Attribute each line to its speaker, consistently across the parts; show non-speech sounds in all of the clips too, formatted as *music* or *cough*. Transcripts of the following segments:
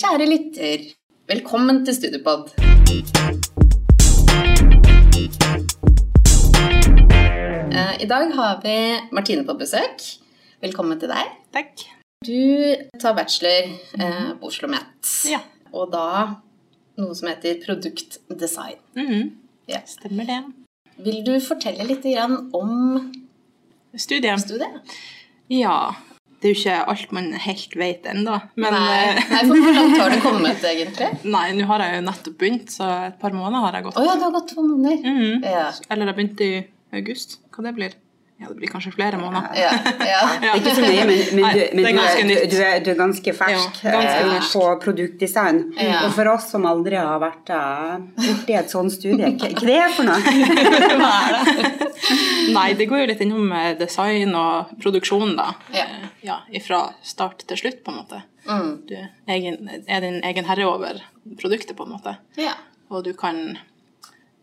Speaker 1: Kjære lytter, velkommen til Studiopod. Eh, I dag har vi Martine på besøk. Velkommen til deg.
Speaker 2: Takk.
Speaker 1: Du tar bachelor eh, på Oslo Met,
Speaker 2: Ja.
Speaker 1: og da noe som heter produktdesign.
Speaker 3: Mhm,
Speaker 1: Ja.
Speaker 2: Stemmer det.
Speaker 1: Vil du fortelle litt grann om
Speaker 2: Studiet?
Speaker 1: studiet?
Speaker 2: Ja. Det er jo ikke alt man helt vet ennå, men
Speaker 1: nei,
Speaker 2: eh, *laughs*
Speaker 1: nei, for hvor langt har du kommet egentlig?
Speaker 2: Nei, nå har jeg jo nettopp begynt, så et par måneder har jeg gått.
Speaker 1: Å ja, det har gått to måneder.
Speaker 2: Mhm.
Speaker 1: Ja.
Speaker 2: Eller jeg begynte i august. Hva det blir? Ja, det blir kanskje flere måneder.
Speaker 1: Ja, ja.
Speaker 2: *laughs* Ja.
Speaker 3: Ikke så mye, men, men,
Speaker 2: *laughs* Nei,
Speaker 3: du, men
Speaker 2: det er
Speaker 3: du,
Speaker 2: ganske
Speaker 3: er,
Speaker 2: nytt.
Speaker 3: du, er, du er ganske fersk
Speaker 2: Ja, ganske
Speaker 3: eh,
Speaker 2: fersk.
Speaker 3: på produktdesign.
Speaker 1: Ja.
Speaker 3: Og for oss som aldri har vært eh, borti et sånt studie, hva hva det er for noe?
Speaker 2: *laughs* Nei, det går jo litt innom eh, design og produksjon, da.
Speaker 1: Ja.
Speaker 2: Eh, ja Fra start til slutt, på en måte.
Speaker 1: Mm.
Speaker 2: Du er egen- er din egen herre over produktet, på en måte.
Speaker 1: ja.
Speaker 2: Og du kan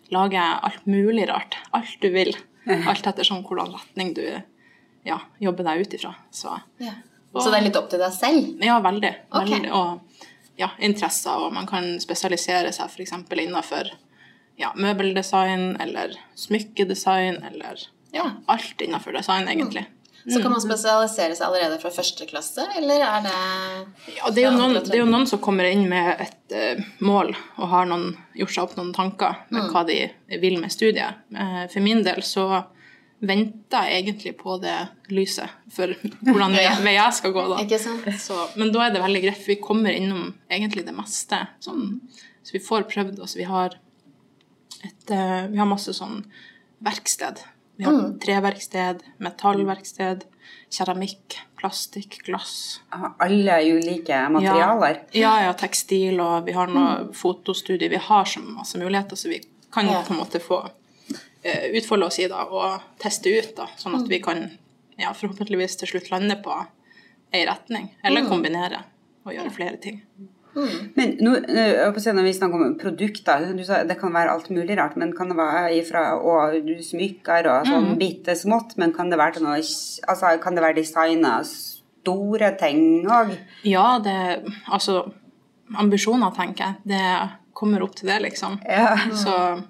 Speaker 2: lage alt mulig rart. Alt du vil. Alt ettersom hvordan retning du ja, jobber deg ut ifra. Så
Speaker 1: Ja. Så det er litt opp til deg selv?
Speaker 2: ja, veldig.
Speaker 1: Ok.
Speaker 2: veldig. Og ja, interesser. Og man kan spesialisere seg f.eks. innenfor ja, møbeldesign eller smykkedesign eller ja, alt innenfor design, egentlig.
Speaker 1: Så kan man spesialisere seg allerede fra første klasse, eller er det
Speaker 2: Ja, det er, jo noen, det er jo noen som kommer inn med et eh, mål og har noen, gjort seg opp noen tanker med hva de vil med studiet. Eh, for min del så venter jeg egentlig på det lyset for hvordan vei,
Speaker 1: Ja.
Speaker 2: vei jeg skal gå, da.
Speaker 1: Ikke sant?
Speaker 2: Så, men da er det veldig greit, for vi kommer innom egentlig det meste. Sånn, så vi får prøvd oss. Vi har, et, eh, vi har masse sånn verksted. Vi har treverksted, metallverksted, keramikk, plastikk, glass.
Speaker 3: Alle ulike materialer.
Speaker 2: Ja, ja, tekstil, og vi har noe fotostudier. Vi har så masse muligheter, så vi kan
Speaker 1: Ja.
Speaker 2: på en måte få eh, utfolde oss i det og teste ut, da, sånn at vi kan ja, forhåpentligvis til slutt lande på ei retning, eller kombinere og gjøre flere ting.
Speaker 3: Men nå, nå, jeg håper å si, når vi snakker om produkter, du sa det kan være alt mulig rart. Men kan det være ifra og du smykker og
Speaker 2: Mm.
Speaker 3: sånn bitte smått, men kan det være til noe Altså kan det være designa store ting òg?
Speaker 2: Ja, det Altså, ambisjoner, tenker jeg, det kommer opp til det, liksom.
Speaker 3: Ja.
Speaker 2: Så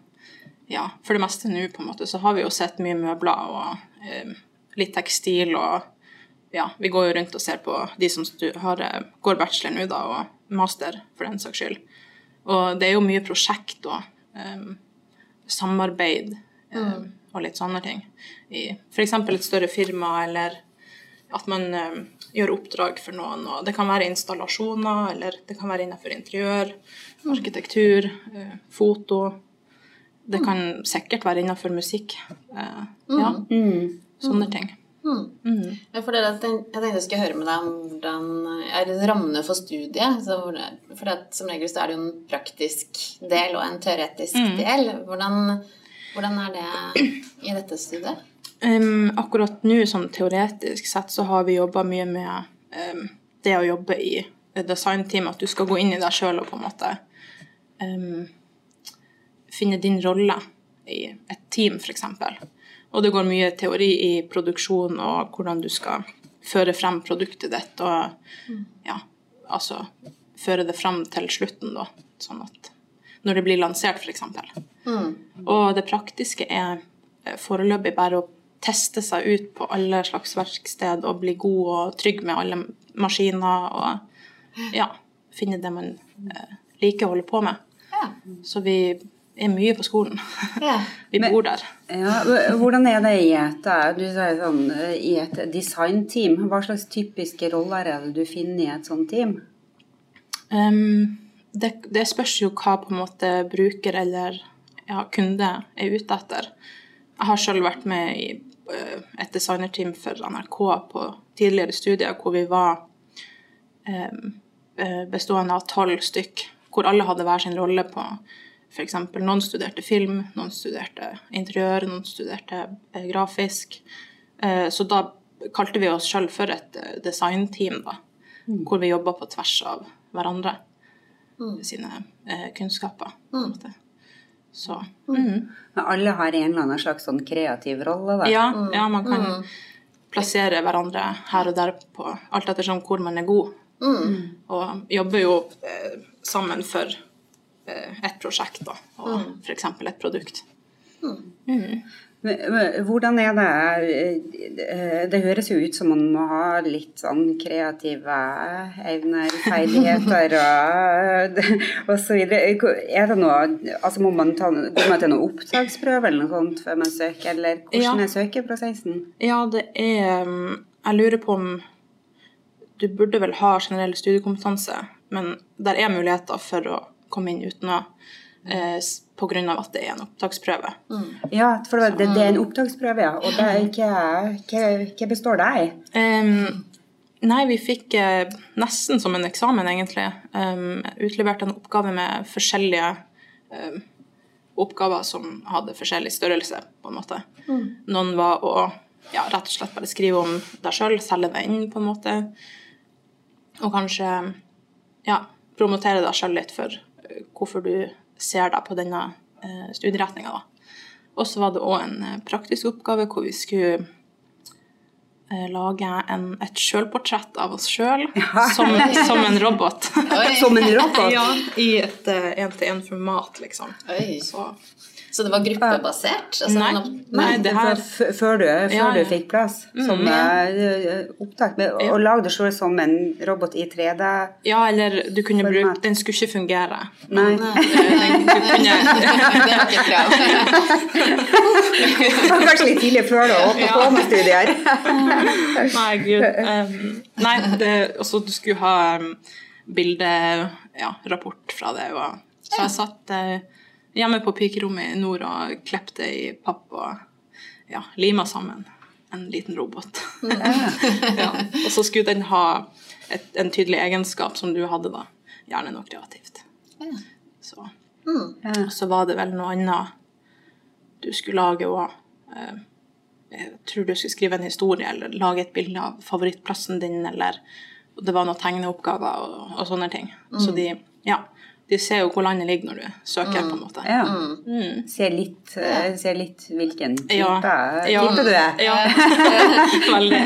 Speaker 2: ja, for det meste nå, på en måte, så har vi jo sett mye møbler og eh, litt tekstil og ja, vi går jo rundt og ser på de som stu- har, eh, går bachelor nå, da, og master, for den saks skyld. Og det er jo mye prosjekt og eh, em, samarbeid em, og litt sånne ting. I f.eks. et større firma, eller at man em, gjør oppdrag for noen. Og det kan være installasjoner, eller det kan være innenfor interiør, arkitektur, eh, foto. Det kan sikkert være innenfor musikk. eh, ja, sånne ting.
Speaker 1: Ja, For dere, jeg tenk- jeg tenkte jeg skulle høre med deg om hvordan er det rammene for studiet. Så, hvor det- for det, at som regel så er det jo en praktisk del og en teoretisk del. Hvordan, hvordan er det i dette studiet?
Speaker 2: Ehm, akkurat nå, sånn teoretisk sett, så har vi jobba mye med ehm, det å jobbe i et designteam, at du skal gå inn i deg sjøl og på en måte ehm, finne din rolle i et team, f.eks. Og det går mye teori i produksjon og hvordan du skal føre frem produktet ditt og ja, altså føre det frem til slutten, da. Sånn at når det blir lansert, f.eks. Og det praktiske er eh, foreløpig bare å teste seg ut på alle slags verksted og bli god og trygg med alle maskiner og ja, finne det man eh, liker å holde på med.
Speaker 1: Ja.
Speaker 2: Så vi er mye på skolen. *laughs*
Speaker 1: Ja.
Speaker 2: Vi
Speaker 3: Men-
Speaker 2: bor der.
Speaker 3: Ja, h- Hvordan er det i et, eh, du sier sånn, eh, i et designteam? Hva slags typiske roller er det du finner i et sånt team?
Speaker 2: Ehm, det, det spørs jo hva på en måte bruker eller ja, kunde er ute etter. Jeg har selv vært med i eh, et designerteam for NRK på tidligere studier hvor vi var ehm, eh, bestående av tolv stykk, hvor alle hadde hver sin rolle på f.eks. noen studerte film, noen studerte interiør, noen studerte eh, grafisk. Eh, så da kalte vi oss sjøl for et eh, designteam, da, hvor vi jobba på tvers av hverandre sine eh, kunnskaper. på en måte. Så mhm.
Speaker 3: Men Alle har en eller annen slags sånn kreativ rolle. Da.
Speaker 2: Ja, ja, man kan plassere hverandre her og der på alt ettersom hvor man er god. Mm. Og jobber jo eh, sammen for eh, et prosjekt, da, og for eksempel et produkt.
Speaker 3: Men- men Hvordan er det eh, Det høres jo ut som man må ha litt sånn kreative evner, ferdigheter og, *laughs* og så videre. Hvor- Er det noe Altså må man ta går man til noen opptaksprøve eller noe sånt før man søker, eller hvordan
Speaker 2: Ja.
Speaker 3: er søkeprosessen?
Speaker 2: Ja, det er um, Jeg lurer på om du burde vel ha generell studiekompetanse, men der er muligheter for å komme inn uten å eh, s- på grunn av at det er en opptaksprøve.
Speaker 3: Ja, for det, det, det er en opptaksprøve, ja. Og det, er- hva, hva, hva består det i?
Speaker 2: Ehm, nei, vi fikk eh, nesten som en eksamen, egentlig. Um, utlevert en oppgave med forskjellige ehm, oppgaver som hadde forskjellig størrelse, på en måte. Noen var å ja, rett og slett bare skrive om deg sjøl, selge deg inn, på en måte. Og kanskje ja, promotere deg sjøl litt for eh, hvorfor du ser deg på denne eh, studieretninga, da. Og så var det òg en eh, praktisk oppgave hvor vi skulle eh, lage en, et sjølportrett av oss sjøl som, som en robot.
Speaker 3: Som en *laughs* robot?
Speaker 2: ja, I et én-til-én-format, liksom.
Speaker 1: Oi.
Speaker 2: Så,
Speaker 1: Så det var gruppebasert? Altså,
Speaker 2: nei,
Speaker 1: man-
Speaker 2: nei, det her
Speaker 3: F- Før du, før
Speaker 2: Ja, ja.
Speaker 3: du fikk plass som eh, opptak. Med,
Speaker 2: Ja.
Speaker 3: Og lag det selv som en robot i 3D.
Speaker 2: Ja, eller du kunne
Speaker 3: Format.
Speaker 2: bruke Den skulle ikke *laughs* fungere.
Speaker 3: Nei.
Speaker 2: Den, du kunne,
Speaker 1: *laughs*
Speaker 2: *laughs*
Speaker 1: det var ikke et krav.
Speaker 3: Det var kanskje litt tidlig før å åpne på med studier.
Speaker 2: Nei, gud. Um, nei, det, også du skulle ha um, bilde, ja, rapport fra det. Og, så jeg satt eh, hjemme på pikerommet i nord og klepte i papp og ja, lima sammen en liten robot. *laughs* ja. Og så skulle den ha et, en tydelig egenskap som du hadde, da. Gjerne noe kreativt. Så. Og så var det vel noe annet du skulle lage òg. Jeg tror du skulle skrive en historie eller lage et bilde av favorittplassen din, eller og det var noen tegneoppgaver og, og sånne ting. Så de, ja, de ser jo hvor landet ligger når du søker, på en måte.
Speaker 3: Ja. Se, litt, eh, se litt hvilken type,
Speaker 2: Ja. Ja.
Speaker 3: type du er.
Speaker 2: Ja, *laughs* veldig.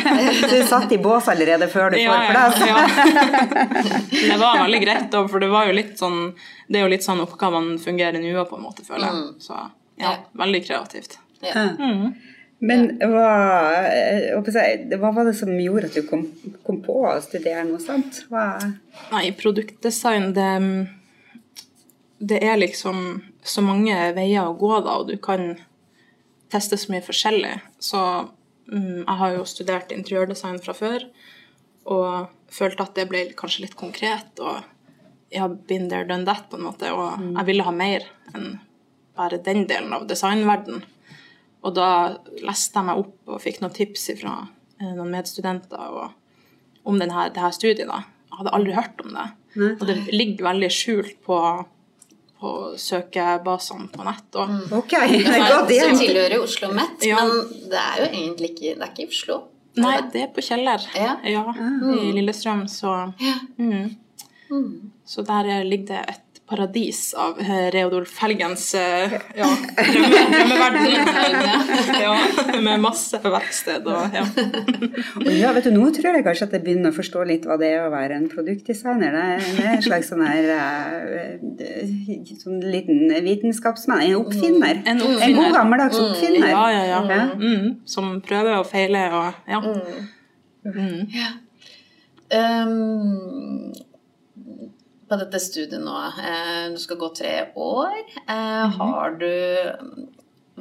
Speaker 3: Du satt i bås allerede før du
Speaker 2: Ja,
Speaker 3: får
Speaker 2: ja,
Speaker 3: plass.
Speaker 2: ja. Det var veldig greit, da, for det var jo litt sånn Det er jo litt sånn oppgavene fungerer nå òg, på en måte, føler jeg. Så ja,
Speaker 1: Ja.
Speaker 2: veldig kreativt.
Speaker 1: Ja.
Speaker 3: Men hva, eh, hva skal jeg si, hva var det som gjorde at du kom, kom på å studere noe sånt? Hva,
Speaker 2: Nei, produktdesign, det, det er liksom så mange veier å gå, da, og du kan teste så mye forskjellig. Så mm, jeg har jo studert interiørdesign fra før, og følte at det ble kanskje litt konkret, og ja, been there, done that, på en måte, og jeg ville ha mer enn bare den delen av designverden. Og da leste jeg meg opp og fikk noen tips fra eh, noen medstudenter, og om den her, det her studiet. da. Jeg hadde aldri hørt om det. Og det ligger veldig skjult på, på søkebasene på nett. Og,
Speaker 3: ok, det er
Speaker 1: Så
Speaker 3: godt igjen.
Speaker 1: tilhører jo Oslo Met,
Speaker 2: Ja.
Speaker 1: men det er jo egentlig ikke Det er ikke i Oslo.
Speaker 2: Nei, det er på Kjeller
Speaker 1: Ja.
Speaker 2: i Lillestrøm, så Ah. mm. Så der eh, ligger det et paradis av eh, Reodolf Helgens eh, ja, *laughs* drømme, drømmeverden. *laughs* Ja, med masse verksted og ja.
Speaker 3: Og Ja, vet du, nå tror jeg kanskje at jeg begynner å forstå litt hva det er å være en produktdesigner. Det er- det er en slags sånn her eh, eh, sånn liten vitenskapsmann, en oppfinner.
Speaker 2: En
Speaker 3: En
Speaker 2: oppfinner.
Speaker 3: god gammeldags oppfinner.
Speaker 2: Ja, ja, ja.
Speaker 3: Ja.
Speaker 2: Mm. Som prøver og feiler og ja.
Speaker 1: Ehm, på dette studiet nå, eh, du skal gå tre år. Eh,
Speaker 2: Mhm.
Speaker 1: Har du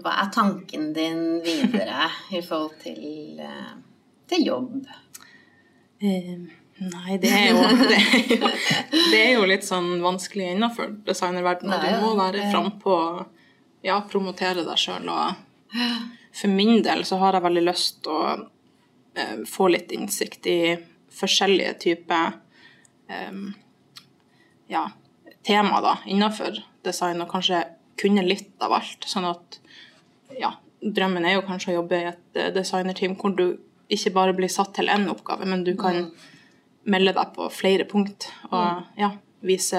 Speaker 1: Hva er tanken din
Speaker 2: *laughs*
Speaker 1: videre i forhold til, eh, til jobb?
Speaker 2: Eh, Nei, det er, jo, det, er jo, det er jo litt sånn vanskelig innenfor designerverdenen.
Speaker 1: Nei,
Speaker 2: Du må være frampå og ja, promotere deg sjøl. Og for min del så har jeg veldig lyst til å eh, få litt innsikt i forskjellige typer em, ja, tema da, innenfor design, og kanskje kunne litt av alt. Sånn at ja, drømmen er jo kanskje å jobbe i et eh, designerteam hvor du ikke bare blir satt til én oppgave, men du kan melde deg på flere punkt og ja, vise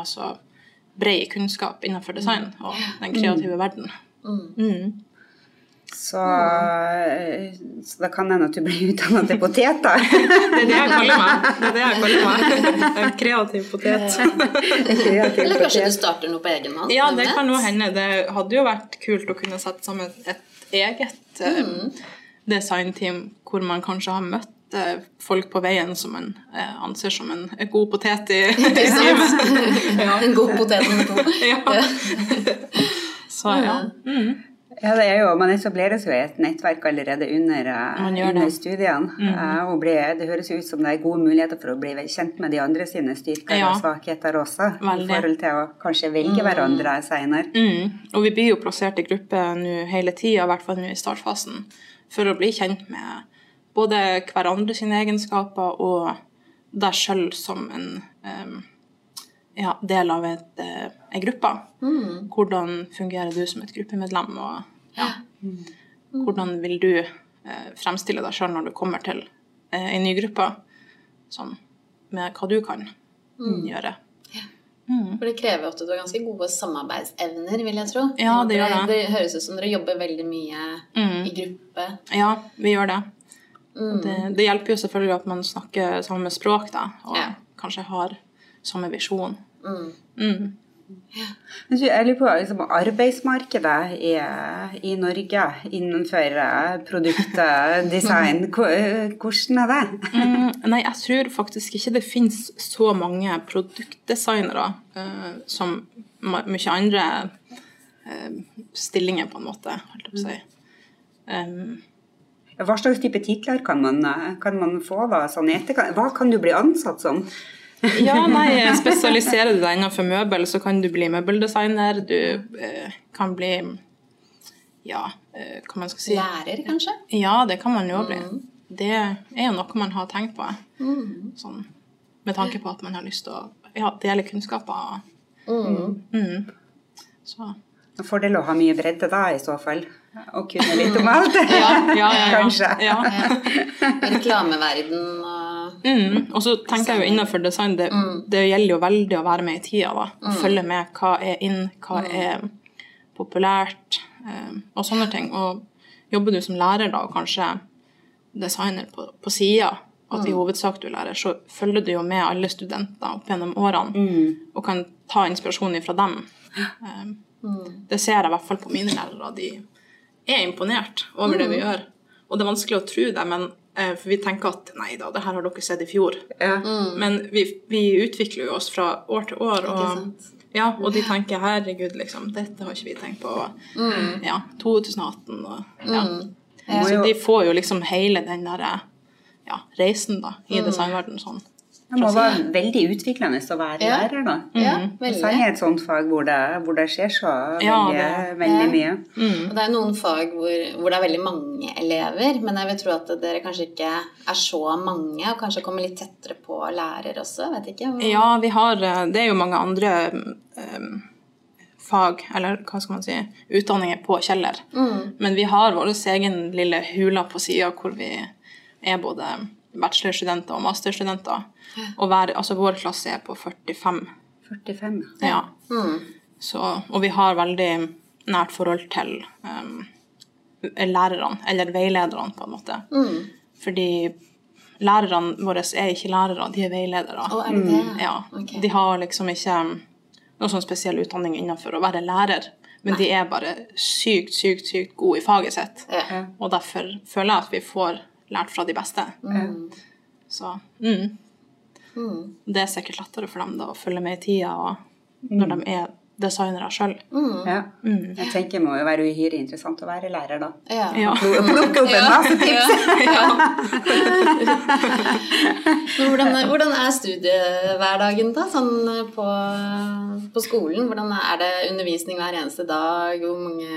Speaker 2: altså bred kunnskap innenfor design og den kreative verden. Mm.
Speaker 3: Så, eh, så da kan det hende at du blir utdannet til potet, da. *laughs*
Speaker 2: Det er det jeg kaller meg. Det er det jeg kaller meg. En kreativ potet.
Speaker 1: Eller kanskje du starter noe på egen hånd?
Speaker 2: Ja,
Speaker 1: hvem
Speaker 2: det
Speaker 1: vet?
Speaker 2: kan jo hende. Det hadde jo vært kult å kunne sette sammen et eget eh, designteam hvor man kanskje har møtt eh, folk på veien som en eh, anser som en en god potet i i
Speaker 1: *laughs*
Speaker 2: teamet. ja.
Speaker 1: En god potet nummer to.
Speaker 2: *laughs* ja. *laughs* Så ja.
Speaker 3: Ja, det er jo, Man etablerer seg jo et nettverk allerede under, eh,
Speaker 2: Man gjør
Speaker 3: under
Speaker 2: det. Mhm.
Speaker 3: studiene. eh, og blir- det høres jo ut som det er gode muligheter for å bli kjent med de andre sine styrker
Speaker 2: Ja.
Speaker 3: og svakheter også.
Speaker 2: Veldig. Mhm.
Speaker 3: I forhold til å kanskje velge hverandre senere.
Speaker 2: Mm. Og vi blir jo plassert i gruppe nå hele tida, i hvert fall nå i startfasen, for å bli kjent med både hverandre sine egenskaper og deg sjøl som en em, ja, del av et, eh, ei gruppe. Hvordan fungerer du som et gruppemedlem, og ja, hvordan vil du eh, fremstille deg sjøl når du kommer til eh, ei ny gruppe, som, med hva du kan gjøre.
Speaker 1: For det krever ofte at du har ganske gode samarbeidsevner, vil jeg tro.
Speaker 2: Ja, det gjør det. Mm.
Speaker 1: Det høres ut som dere jobber veldig mye i gruppe.
Speaker 2: Ja, vi gjør det.
Speaker 1: Mm.
Speaker 2: Og Det, det hjelper jo selvfølgelig at man snakker samme språk, da, og
Speaker 1: Ja.
Speaker 2: kanskje har samme visjon.
Speaker 1: Mm.
Speaker 2: Mm.
Speaker 3: Men så Jeg lurer på liksom, arbeidsmarkedet i, i Norge innenfor eh,
Speaker 2: *laughs*
Speaker 3: produktdesign. Hvor- Hvordan er det?
Speaker 2: Mm, nei, jeg tror faktisk ikke det finnes så mange produktdesignere eh, som ma- mye andre eh, stillinger, på en måte, holdt jeg på å si.
Speaker 1: Mm.
Speaker 2: Um,
Speaker 3: Hva slags type titler kan man, eh, kan man få da? Sånn i etterkant? Hva kan du bli ansatt som?
Speaker 2: Ja, nei,
Speaker 1: *laughs*
Speaker 2: spesialiserer du deg innenfor møbel, så kan du bli møbeldesigner. Du eh, kan bli Ja, eh, hva man skal si
Speaker 1: Lærer, kanskje?
Speaker 2: Ja, det kan man jo bli. Det er jo noe man har tenkt på. Sånn, med tanke på at man har lyst til å ja, dele kunnskaper. Mm. Så
Speaker 3: Fordel å ha mye bredde da, i så fall. Og kunne litt om alt.
Speaker 2: ja, ja, ja, ja.
Speaker 3: Kanskje.
Speaker 2: *laughs* Ja.
Speaker 1: Ja. Reklameverden og
Speaker 2: Mm. Og så tenker jeg jo innenfor design, det, det gjelder jo veldig å være med i tida. da. Å Følge med hva er inn, hva er populært, eh, og sånne ting. Og jobber du som lærer da, og kanskje designer på, på sida, at i hovedsak du lærer, så følger du jo med alle studenter opp gjennom årene, og kan ta inspirasjon ifra dem. Eh, Det ser jeg i hvert fall på mine lærere. De er imponert over det vi gjør. Og det er vanskelig å tro det, men eh, for vi tenker at nei da, det her har dere sett i fjor.
Speaker 3: Ja.
Speaker 2: Men vi, vi utvikler jo oss fra år til år, og, ja, og de tenker herregud, liksom, dette har ikke vi tenkt på. Og, Ja, 2018 og ja.
Speaker 3: Må
Speaker 2: Så
Speaker 3: jo,
Speaker 2: de får jo liksom hele den der ja, reisen da, i designverdenen sånn.
Speaker 3: det må være veldig utviklende å være
Speaker 1: Ja.
Speaker 3: lærer, da.
Speaker 1: Ja,
Speaker 3: Særlig
Speaker 1: veldig.
Speaker 3: i et sånt fag hvor det, hvor det skjer så
Speaker 2: Ja,
Speaker 3: veldig, veldig mye.
Speaker 2: Mm.
Speaker 1: Og det er noen fag hvor, hvor det er veldig mange elever, men jeg vil tro at dere kanskje ikke er så mange, og kanskje kommer litt tettere på lærer også, vet ikke.
Speaker 2: Ja, vi har eh, Det er jo mange andre eh, fag, eller hva skal man si, utdanninger på Kjeller. Men vi har vår egen lille hula på sida hvor vi er både bachelorstudenter og masterstudenter. Og hver, altså vår klasse er på 45.
Speaker 3: 45.
Speaker 2: Ja.
Speaker 1: Mm.
Speaker 2: Så, og vi har veldig nært forhold til um, lærerne, eller veilederne, på en måte.
Speaker 1: Mm.
Speaker 2: Fordi lærerne våre er ikke lærere, de er veiledere.
Speaker 1: Og er det det?
Speaker 2: Ja.
Speaker 1: Ok.
Speaker 2: De har liksom ikke um, noe sånn spesiell utdanning innenfor å være lærer, men de er bare sykt, sykt, sykt gode i faget sitt.
Speaker 1: Ja.
Speaker 2: Og derfor føler jeg at vi får lært fra de beste. Så mm. Det er sikkert lettere for dem da å følge med i tida og når de er designere sjøl.
Speaker 3: Ja. Jeg tenker det må jo være uhyre interessant å være lærer, da.
Speaker 1: Ja.
Speaker 2: Ja.
Speaker 3: Plukke opp en masse tips!
Speaker 2: *laughs*
Speaker 1: Men hvordan, hvordan er studiehverdagen da, sånn eh, på, på skolen? Hvordan er det undervisning hver eneste dag? Hvor mange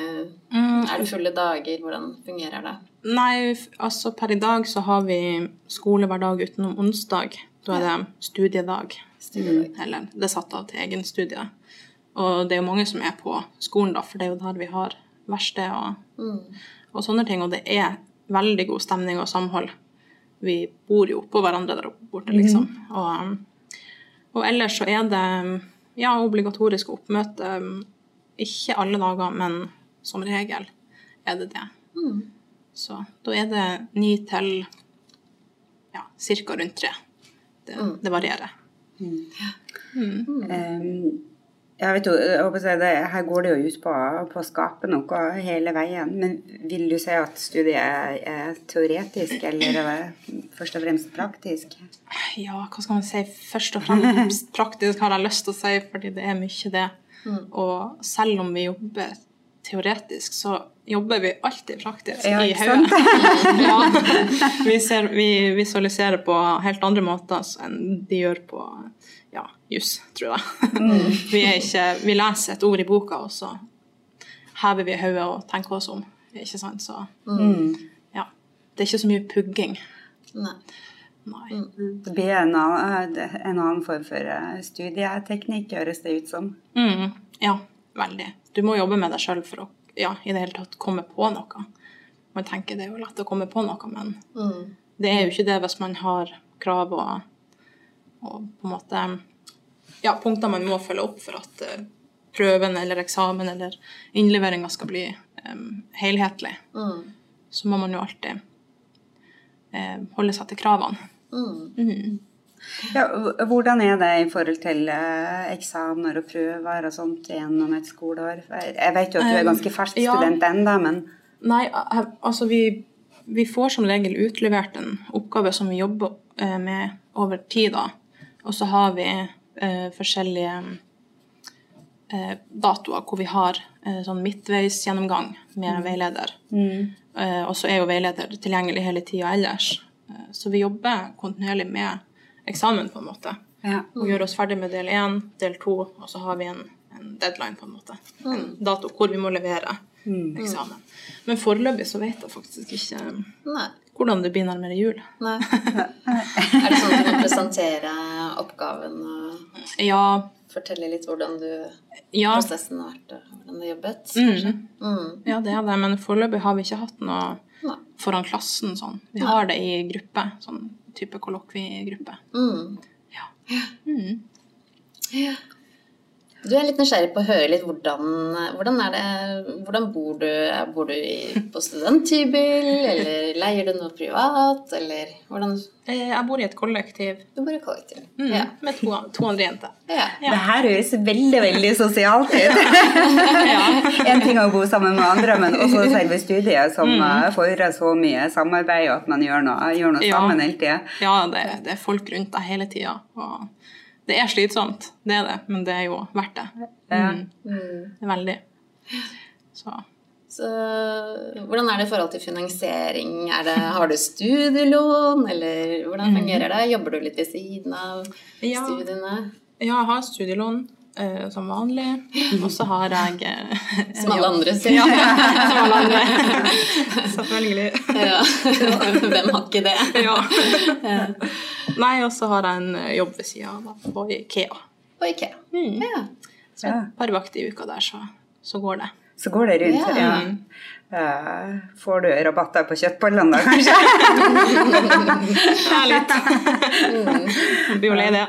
Speaker 2: Mm.
Speaker 1: Er det fulle dager? Hvordan fungerer det?
Speaker 2: Nei, f- altså per i dag så har vi skole hver dag utenom onsdag. Da er det studiedag. Mm. Eller det er satt av til egen studie. Og det er jo mange som er på skolen, da, for det er jo der vi har verksted og,
Speaker 1: Mm.
Speaker 2: og sånne ting. Og det er veldig god stemning og samhold. Vi bor jo oppå hverandre der oppe borte, liksom. Og, um, og ellers så er det ja, obligatorisk oppmøte. um, Ikke alle dager, men som regel er det det. Så da er det ni til ja, ca. rundt tre. Det, det varierer.
Speaker 3: Ehm, jeg vet jo, jeg håper å si det, Her går det jo ut på, på å skape noe hele veien. Men vil du si at studiet er, er teoretisk, eller er det først og fremst praktisk?
Speaker 2: Ja, hva skal man si? Først og
Speaker 3: *laughs*
Speaker 2: fremst praktisk har jeg lyst til å si, fordi det er mye det.
Speaker 3: Mm.
Speaker 2: Og selv om vi jobber teoretisk, så jobber vi alltid praktisk
Speaker 3: Ja,
Speaker 2: i
Speaker 3: ikke sant?
Speaker 2: hodet. *laughs* ja.
Speaker 3: *laughs*
Speaker 2: vi, ser- vi visualiserer på helt andre måter enn de gjør på ja, juss, tror jeg.
Speaker 3: Mm.
Speaker 2: *laughs* vi, er ikke, vi leser et ord i boka, og så hever vi hodet og tenker oss om. Ikke sant? Så
Speaker 3: Mm.
Speaker 2: ja. Det er ikke så mye pugging.
Speaker 1: Nei.
Speaker 2: Nei.
Speaker 3: Det blir en annen, eh, en annen form for eh, studieteknikk, høres det ut som.
Speaker 2: Mm, ja, veldig. Du må jobbe med deg sjøl for å ja, i det hele tatt komme på noe. Man tenker det er jo lett å komme på noe, men
Speaker 1: Mm.
Speaker 2: det er jo ikke det hvis man har krav og, og på en måte ja, punkter man må følge opp for at eh, prøven eller eksamen eller innleveringa skal bli em, helhetlig.
Speaker 1: Mm.
Speaker 2: Så må man jo alltid eh, holde seg til kravene.
Speaker 1: Mm.
Speaker 3: Ja, h- hvordan er det i forhold til eh, eksamener og prøver og sånt gjennom et skoleår? Jeg vet jo at du er ganske fersk
Speaker 2: ja.
Speaker 3: student ennå, men
Speaker 2: Nei, al- altså vi, vi får som regel utlevert en oppgave som vi jobber eh, med over tid. da. Og så har vi eh, forskjellige eh, datoer hvor vi har eh, sånn midtveisgjennomgang med veileder. Eh, og så er jo veileder tilgjengelig hele tida ellers. Eh, så vi jobber kontinuerlig med eksamen, på en måte.
Speaker 3: ja.
Speaker 2: Og gjør oss ferdig med del én, del to, og så har vi en, en deadline, på en måte. En
Speaker 1: Mm.
Speaker 2: dato hvor vi må levere eksamen. Men foreløpig så vet jeg faktisk ikke um,
Speaker 1: Nei.
Speaker 2: hvordan det blir nærmere jul. *laughs*
Speaker 1: Nei. er det sånn at du kan presentere oppgaven og
Speaker 2: Ja,
Speaker 1: fortelle litt hvordan du
Speaker 2: ja,
Speaker 1: prosessen har vært, og hvordan du jobbet?
Speaker 2: mm,
Speaker 1: Mm.
Speaker 2: ja det er det, men foreløpig har vi ikke hatt noe
Speaker 1: Nei.
Speaker 2: foran klassen sånn. Vi har det i gruppe, sånn type kollokviegruppe.
Speaker 1: Mm.
Speaker 2: Mm.
Speaker 1: Ja. Du er litt nysgjerrig på å høre litt hvordan, hvordan er det Hvordan bor du? Bor du i, på studenthybel, eller leier du noe privat, eller hvordan
Speaker 2: Eh, Jeg bor i et kollektiv
Speaker 1: Du bor i kollektiv.
Speaker 2: mm,
Speaker 1: Ja.
Speaker 2: med to, to andre
Speaker 1: *laughs*
Speaker 2: jenter.
Speaker 1: ja.
Speaker 2: Ja.
Speaker 3: Det her høres veldig, veldig sosialt ut. *laughs*
Speaker 2: Ja.
Speaker 3: En ting er å bo sammen med andre, men også selve studiet som eh, fordrer så mye samarbeid, og at man gjør noe, gjør noe
Speaker 2: Ja.
Speaker 3: sammen hele tida.
Speaker 2: Ja, det, det er folk rundt deg hele tida. Og det er slitsomt, det er det, men det er jo verdt det. Mm. Veldig. Så
Speaker 1: Så hvordan er det i forhold til finansiering? Er det, har du studielån, eller hvordan fungerer det? Jobber du litt ved siden av
Speaker 2: Mm. Ja.
Speaker 1: studiene?
Speaker 2: ja, jeg har studielån eh, som vanlig, og så har jeg eh, en
Speaker 1: Som alle
Speaker 2: jobb.
Speaker 1: andre sier.
Speaker 2: Ja, *laughs* som alle
Speaker 1: *laughs*
Speaker 2: andre. Selvfølgelig.
Speaker 1: Ja. *laughs* Hvem har ikke det?
Speaker 2: Ja. Nei, og så har jeg en eh, jobb ved sida av, da, på Ikea.
Speaker 1: Og Ikea. Ja.
Speaker 2: Så et par vakter i uka der, så, så går det.
Speaker 3: Så går det rundt.
Speaker 1: Ja.
Speaker 3: Ja. Eh, Får du rabatter på kjøttbollene da, kanskje?
Speaker 2: Ja, litt. *laughs* Jeg Blir jo lei det.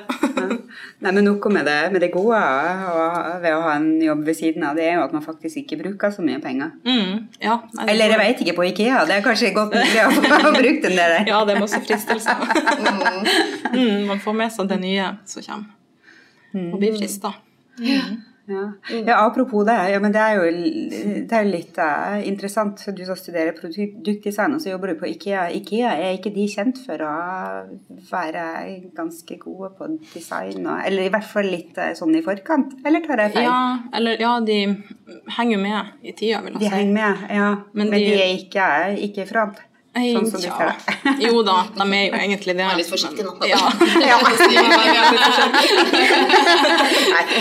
Speaker 3: Nei, men noe med det, med det gode og ved å ha en jobb ved siden av, det er jo at man faktisk ikke bruker så mye penger.
Speaker 2: Mm, ja. Nei, det
Speaker 3: Eller jeg veit ikke, på Ikea. Det er kanskje godt mulig å få *laughs* brukt en del der.
Speaker 2: *laughs* Ja, det er masse fristelser.
Speaker 1: *laughs*
Speaker 2: Mm, man får med seg det nye som kommer, og blir frista.
Speaker 3: Ja. ja, apropos det. Ja, men det er jo l- det er jo litt eh, interessant. Du som studerer produktdesign, og så jobber du på Ikea. Ikea er ikke de kjent for å være ganske gode på design? Og, eller i hvert fall litt eh, sånn i forkant? Eller tar jeg feil?
Speaker 2: Ja, eller ja, de henger jo med i tida, vil jeg
Speaker 3: De
Speaker 2: si.
Speaker 3: henger med, ja.
Speaker 2: Altså, Men
Speaker 3: Men de,
Speaker 2: de-
Speaker 3: er ikke, ikke i front?
Speaker 2: Ei,
Speaker 3: Sånn som de
Speaker 2: tja.
Speaker 3: ser det.
Speaker 2: Jo da, de er jo egentlig det.
Speaker 1: *laughs* Vær litt forsiktig nå.
Speaker 2: *laughs* Ja.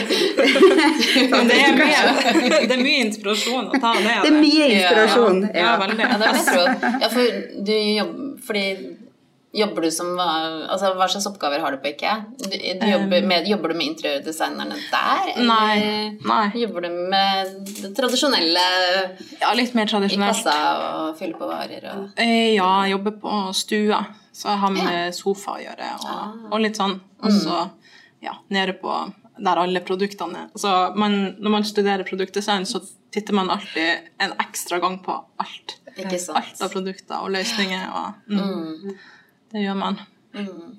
Speaker 2: *laughs* Men det er, mye, *laughs* det er mye inspirasjon å ta det.
Speaker 3: *laughs* Det er mye inspirasjon.
Speaker 2: Ja, ja, veldig.
Speaker 1: Ja, det vil jeg tro. Ja, for du jobb, fordi jobber du som hva- altså, Hva slags oppgaver har du på IKEA? Du, du jobber, med, jobber du med interiørdesignerne der? eller
Speaker 2: Um. Nei, nei.
Speaker 1: Jobber du med det tradisjonelle
Speaker 2: Ja, litt mer
Speaker 1: i
Speaker 2: tradisjonelt.
Speaker 1: kassa og fylle på varer og
Speaker 2: Eh, Ja, jeg jobber på stua, så jeg har med sofa å gjøre og, og litt sånn. Og så ja, nede på der alle produktene er. Altså, man, når man studerer produktdesign, så titter man alltid en ekstra gang på alt.
Speaker 1: Ikke sant.
Speaker 2: Alt av produkter og løsninger. Og, mm. Det gjør man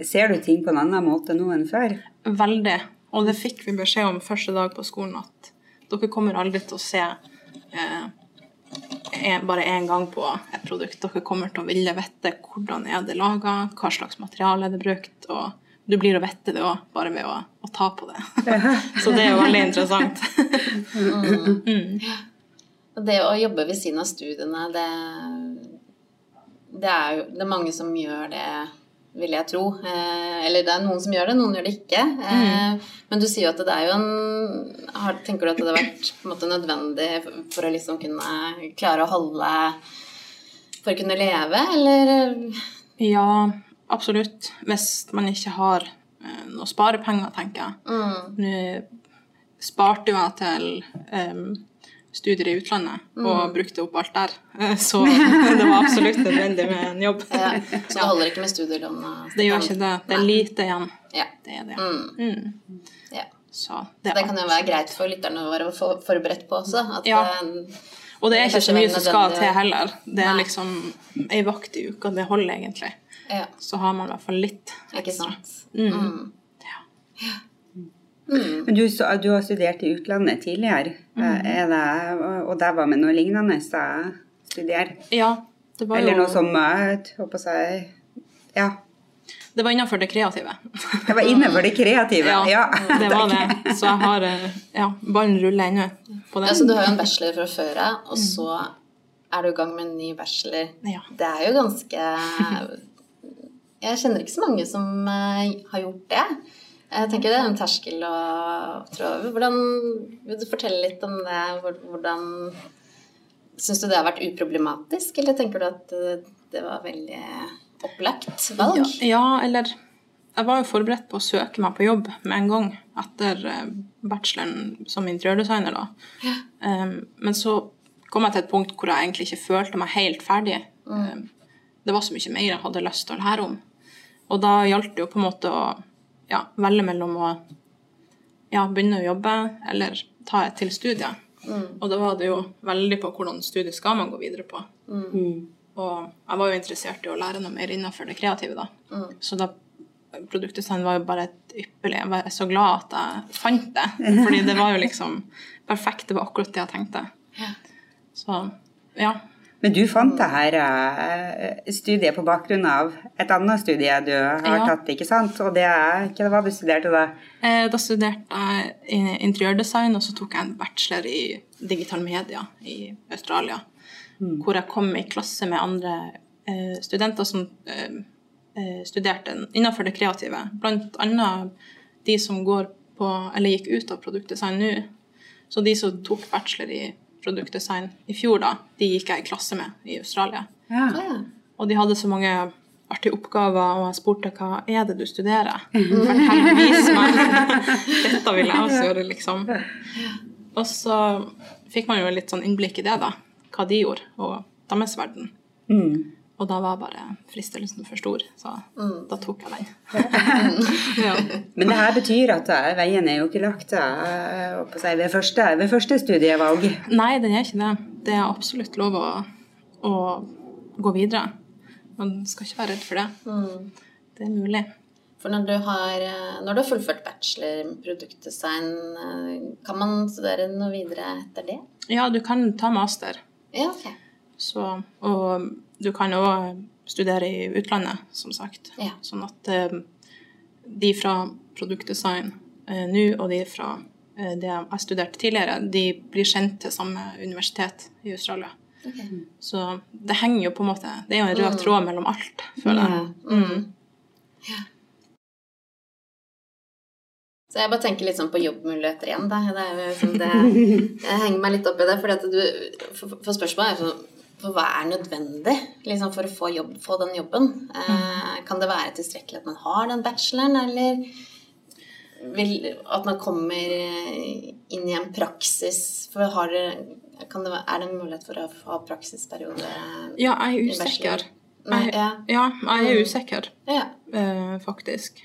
Speaker 3: Ser du ting på en annen måte nå enn før?
Speaker 2: veldig. Og det fikk vi beskjed om første dag på skolen, at dere kommer aldri til å se eh, en, bare én gang på et produkt. Dere kommer til å ville vite hvordan er det laga, hva slags materiale er det brukt. og du blir å vite det òg, bare ved å, å ta på det. Så det er jo veldig interessant.
Speaker 1: Og det å jobbe ved siden av studiene, det Det er jo det er mange som gjør det, vil jeg tro. Eh, eller det er noen som gjør det, noen gjør det ikke.
Speaker 2: Mm.
Speaker 1: Eh, Men du sier jo at det er jo en har, Tenker du at det har vært på en måte nødvendig for, for å liksom kunne klare å holde For å kunne leve, eller eh,
Speaker 2: Ja, absolutt. Hvis man ikke har eh, noe sparepenger, tenker jeg.
Speaker 1: mm,
Speaker 2: Nå sparte jo jeg til em, studier i utlandet
Speaker 1: Mm.
Speaker 2: og brukte opp alt der. Eh, Så *laughs* det var absolutt nødvendig med en jobb.
Speaker 1: ja. Så det holder ikke med studielånet?
Speaker 2: Det gjør ikke det. Det er lite igjen.
Speaker 1: Ja.
Speaker 2: Det er det.
Speaker 1: Mm,
Speaker 2: Mm.
Speaker 1: ja.
Speaker 2: Så det
Speaker 1: Det
Speaker 2: er
Speaker 1: kan jo være greit for lytterne å være for- forberedt på også. At
Speaker 2: Ja.
Speaker 1: det-
Speaker 2: Og det er ikke
Speaker 1: kanskje
Speaker 2: så mye
Speaker 1: veldig
Speaker 2: som skal
Speaker 1: nødvendig.
Speaker 2: til heller. Det er
Speaker 1: Nei.
Speaker 2: liksom ei vakt i uka. Det holder egentlig.
Speaker 1: ja,
Speaker 2: Så har man i hvert fall litt
Speaker 1: ikke
Speaker 2: ekstra.
Speaker 1: sant.
Speaker 2: Mm.
Speaker 1: Mm.
Speaker 2: Ja.
Speaker 3: Men du, sa- du har studert i utlandet tidligere,
Speaker 2: Mm.
Speaker 3: eh, er det, og der var med noe lignende jeg studerer?
Speaker 2: Ja, det var
Speaker 3: Eller
Speaker 2: jo
Speaker 3: noe som eh, håper jeg Ja.
Speaker 2: Det var innafor det kreative. *laughs*
Speaker 3: Jeg var inne for det kreative.
Speaker 2: Ja,
Speaker 3: Ja. *laughs*
Speaker 2: det var det. Så jeg har eh, ja, ballen ruller ennå på
Speaker 1: Ja, så du
Speaker 2: den.
Speaker 1: har jo en bachelor fra før av, og så er du i gang med en ny bachelor.
Speaker 2: Ja.
Speaker 1: Det er jo ganske Jeg kjenner ikke så mange som eh, har gjort det. Jeg tenker det er en terskel å trå over. Hvordan Vil du fortelle litt om det? Hvor- Hvordan Syns du det har vært uproblematisk, eller tenker du at eh, det var veldig opplagt valg?
Speaker 2: Ja, eller Jeg var jo forberedt på å søke meg på jobb med en gang etter eh, bacheloren som interiørdesigner, da. Em, men så kom jeg til et punkt hvor jeg egentlig ikke følte meg helt ferdig. Em, det var så mye mer jeg hadde lyst til å lære om. Og da gjaldt det jo på en måte å ja, velge mellom å ja, begynne å jobbe eller ta et til studie. Og da var det jo veldig på hvordan studie skal man gå videre på. Og jeg var jo interessert i å lære noe mer innenfor det kreative, da. Så da produktdesign var jo bare et ypperlig Jeg var så glad at jeg fant det. Fordi det var jo liksom perfekt. Det var akkurat det jeg tenkte. Så ja.
Speaker 3: Men du fant det her eh, studiet på bakgrunn av et annet studie du har
Speaker 2: Ja.
Speaker 3: tatt, ikke sant? Og det er ikke hva du studerte da?
Speaker 2: Eh, Da studerte jeg i- interiørdesign, og så tok jeg en bachelor i digital media i Australia. Hvor jeg kom i klasse med andre eh, studenter som eh, eh, studerte innenfor det kreative. Blant annet de som går på, eller gikk ut av produktdesign nå. Så de som tok bachelor i produktdesign i fjor, da, de gikk jeg i klasse med i Australia.
Speaker 3: Ja.
Speaker 1: Ja.
Speaker 2: Og de hadde så mange artige oppgaver, og jeg spurte hva er det du studerer? Fortell, vis meg! *laughs* Dette vil jeg også gjøre, liksom. Og så fikk man jo litt sånn innblikk i det, da. Hva de gjorde, og deres verden.
Speaker 3: Mm.
Speaker 2: Og da var bare fristelsen for stor, så da tok jeg den. ja.
Speaker 3: Men det her betyr at eh, veien er jo ikke lagt eh, holdt på å si, ved, første, ved første studievalg.
Speaker 2: Nei, den er ikke det. Det er absolutt lov å, å gå videre. Man skal ikke være redd for det. Det er mulig.
Speaker 1: For når du har, eh, når du har fullført bachelor i produktdesign, eh, kan man studere noe videre etter det?
Speaker 2: Ja, du kan ta master.
Speaker 1: Ja, ok.
Speaker 2: Så, og du kan òg studere i utlandet, som sagt.
Speaker 1: Ja.
Speaker 2: Sånn at eh, de fra produktdesign eh, nå, og de fra eh, det jeg studerte tidligere, de blir kjent til samme universitet i Australia.
Speaker 1: Ok. Mm.
Speaker 2: Så det henger jo på en måte Det er jo en rød tråd mellom alt, føler jeg. Mm.
Speaker 1: Så jeg bare tenker litt sånn på jobbmuligheter igjen, da. Det er jo liksom det, jeg henger meg litt opp i det, fordi at du, for, for spørsmålet er jo sånn for hva er nødvendig liksom for å få, jobb, få den jobben? Eh, kan det være tilstrekkelig at man har den bacheloren, eller vil, at man kommer eh, inn i en praksis? For har det, kan det, være- er det en mulighet for å ha praksisperiode?
Speaker 2: Ja, jeg er
Speaker 1: I bachelor.
Speaker 2: usikker.
Speaker 1: Nei,
Speaker 2: Jeg,
Speaker 1: ja.
Speaker 2: ja, jeg er usikker,
Speaker 1: Ja.
Speaker 2: eh, faktisk.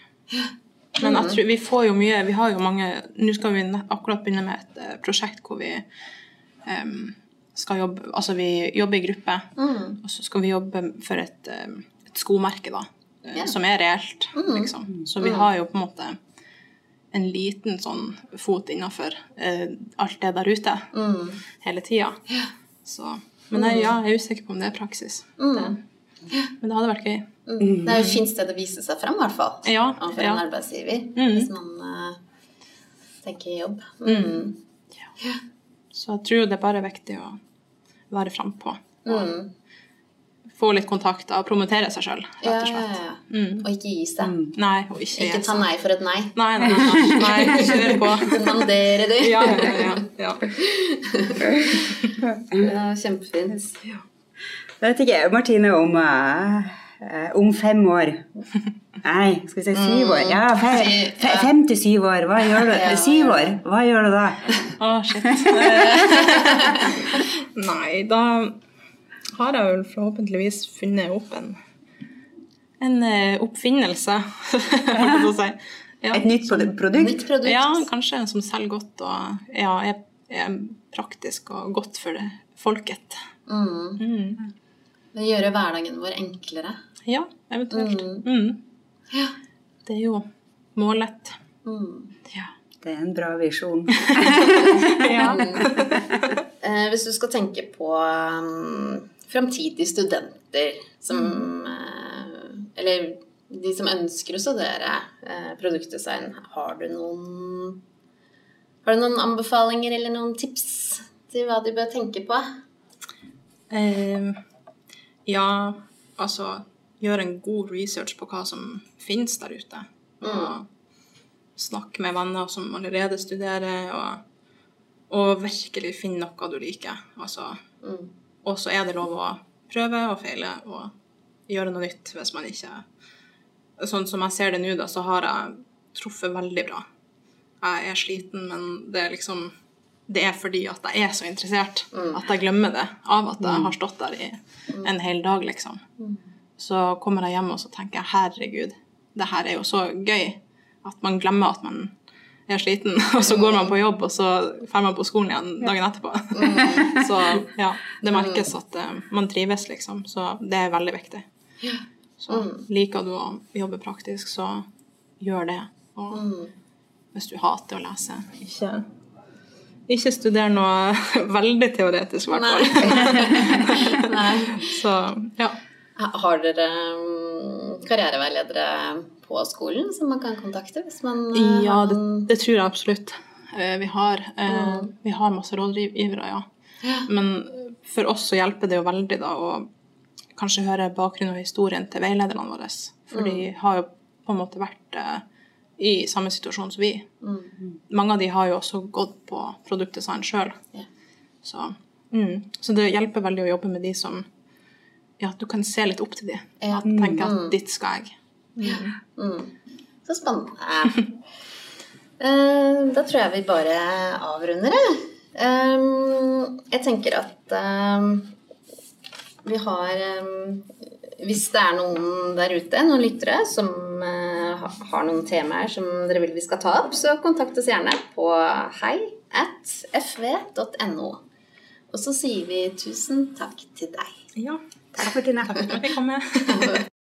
Speaker 2: Men jeg tror, vi får jo mye Vi har jo mange Nå skal vi ne- akkurat begynne med et eh, prosjekt hvor vi em, skal jobbe Altså vi jobber i gruppe, og så skal vi jobbe for et, em, et skomerke, da. eh,
Speaker 1: Ja.
Speaker 2: Som er reelt, liksom. Så vi har jo på en måte en liten sånn fot innafor eh, alt det der ute hele tida. Så Men jeg, ja, jeg er usikker på om det er praksis. Det, men det hadde vært gøy.
Speaker 1: Det er jo et fint sted å vise seg frem, i hvert fall.
Speaker 2: Mm. Ja,
Speaker 1: Overfor
Speaker 2: ja. Mm.
Speaker 1: en arbeidsgiver. Hvis man eh, tenker jobb. Mm.
Speaker 2: Så jeg tror det er bare viktig å være frampå. Få litt kontakter og promotere seg sjøl,
Speaker 1: Ja,
Speaker 2: rett og
Speaker 1: ja,
Speaker 2: slett. Mm.
Speaker 1: ja. Og ikke gi seg.
Speaker 2: Nei, og ikke
Speaker 1: Ikke ta nei for et nei. *laughs*
Speaker 2: Nei, nei, nei. nei kjør på.
Speaker 1: Mandere du.
Speaker 2: Ja, ja, ja, ja.
Speaker 1: Ja, Kjempefint.
Speaker 3: Da vet ikke jeg, Martine, om, eh, eh, om fem år. Nei, skal vi si Mm. syv år? Ja, fe, fe, fem til syv år. Hva gjør du? Syv år, hva gjør du da?
Speaker 2: Å, shit. *laughs* nei, da har jeg vel forhåpentligvis funnet opp en en eh, oppfinnelse, *laughs* holdt jeg på å si. Ja.
Speaker 3: Et Sånn nytt produ- produkt?
Speaker 1: Nytt produkt.
Speaker 2: Ja, kanskje en som selger godt og ja, er, er praktisk og godt for det, folket.
Speaker 1: Det gjør hverdagen vår enklere.
Speaker 2: Ja, eventuelt. Mm. Det er jo målet.
Speaker 1: Mm.
Speaker 2: Ja.
Speaker 3: Det er en bra visjon.
Speaker 1: *laughs* Eh, hvis du skal tenke på um, framtidige studenter som eh, Eller de som ønsker å studere eh, produktdesign, har du noen Har du noen anbefalinger eller noen tips til hva de bør tenke på?
Speaker 2: Ehm, ja, altså gjør en god research på hva som finnes der ute. Og snakk med venner som allerede studerer, og, og virkelig finn noe du liker. Altså, Og så er det lov å prøve og feile og gjøre noe nytt hvis man ikke Sånn som jeg ser det nå, da, så har jeg truffet veldig bra. Jeg er sliten, men det er liksom det er fordi at jeg er så interessert at jeg glemmer det av at jeg har stått der i en hel dag, liksom. Så kommer jeg hjem og så tenker jeg, herregud, det her er jo så gøy at man glemmer at man er sliten, *laughs* og så går man på jobb, og så drar man på skolen igjen dagen etterpå. *laughs* Så ja, det merkes at eh, man trives, liksom. Så det er veldig viktig. Så liker du å jobbe praktisk, så gjør det. Og hvis du hater å lese, ikke ikke studer noe *laughs* veldig teoretisk, i hvert fall. *laughs* Så ja.
Speaker 1: Har dere um, karriereveiledere på skolen som man kan kontakte hvis man eh,
Speaker 2: Ja,
Speaker 1: har
Speaker 2: det,
Speaker 1: noen-
Speaker 2: det tror jeg absolutt. Eh, Vi har, eh, vi har masse rådgivere, ja. Men for oss så hjelper det jo veldig da å kanskje høre bakgrunnen og historien til veilederne våre. For de har jo på en måte vært eh, i samme situasjon som vi.
Speaker 1: Mm.
Speaker 2: Mange av de har jo også gått på produktdesign sjøl.
Speaker 1: Ja.
Speaker 2: Så, mm. så det hjelper veldig å jobbe med de som Ja, at du kan se litt opp til de.
Speaker 1: Ja.
Speaker 2: At tenke at dit skal jeg.
Speaker 1: Mm. Så spennende. Eh, Da tror jeg vi bare avrunder, jeg. Ehm, Jeg tenker at ehm, vi har ehm, Hvis det er noen der ute, noen lyttere, som eh, ha- har noen temaer som dere vil vi skal ta opp, så kontakt oss gjerne på hei at fv.no. Og så sier vi tusen takk til deg.
Speaker 2: Ja.
Speaker 3: Takk, Martine.
Speaker 2: Takk for at jeg kom med.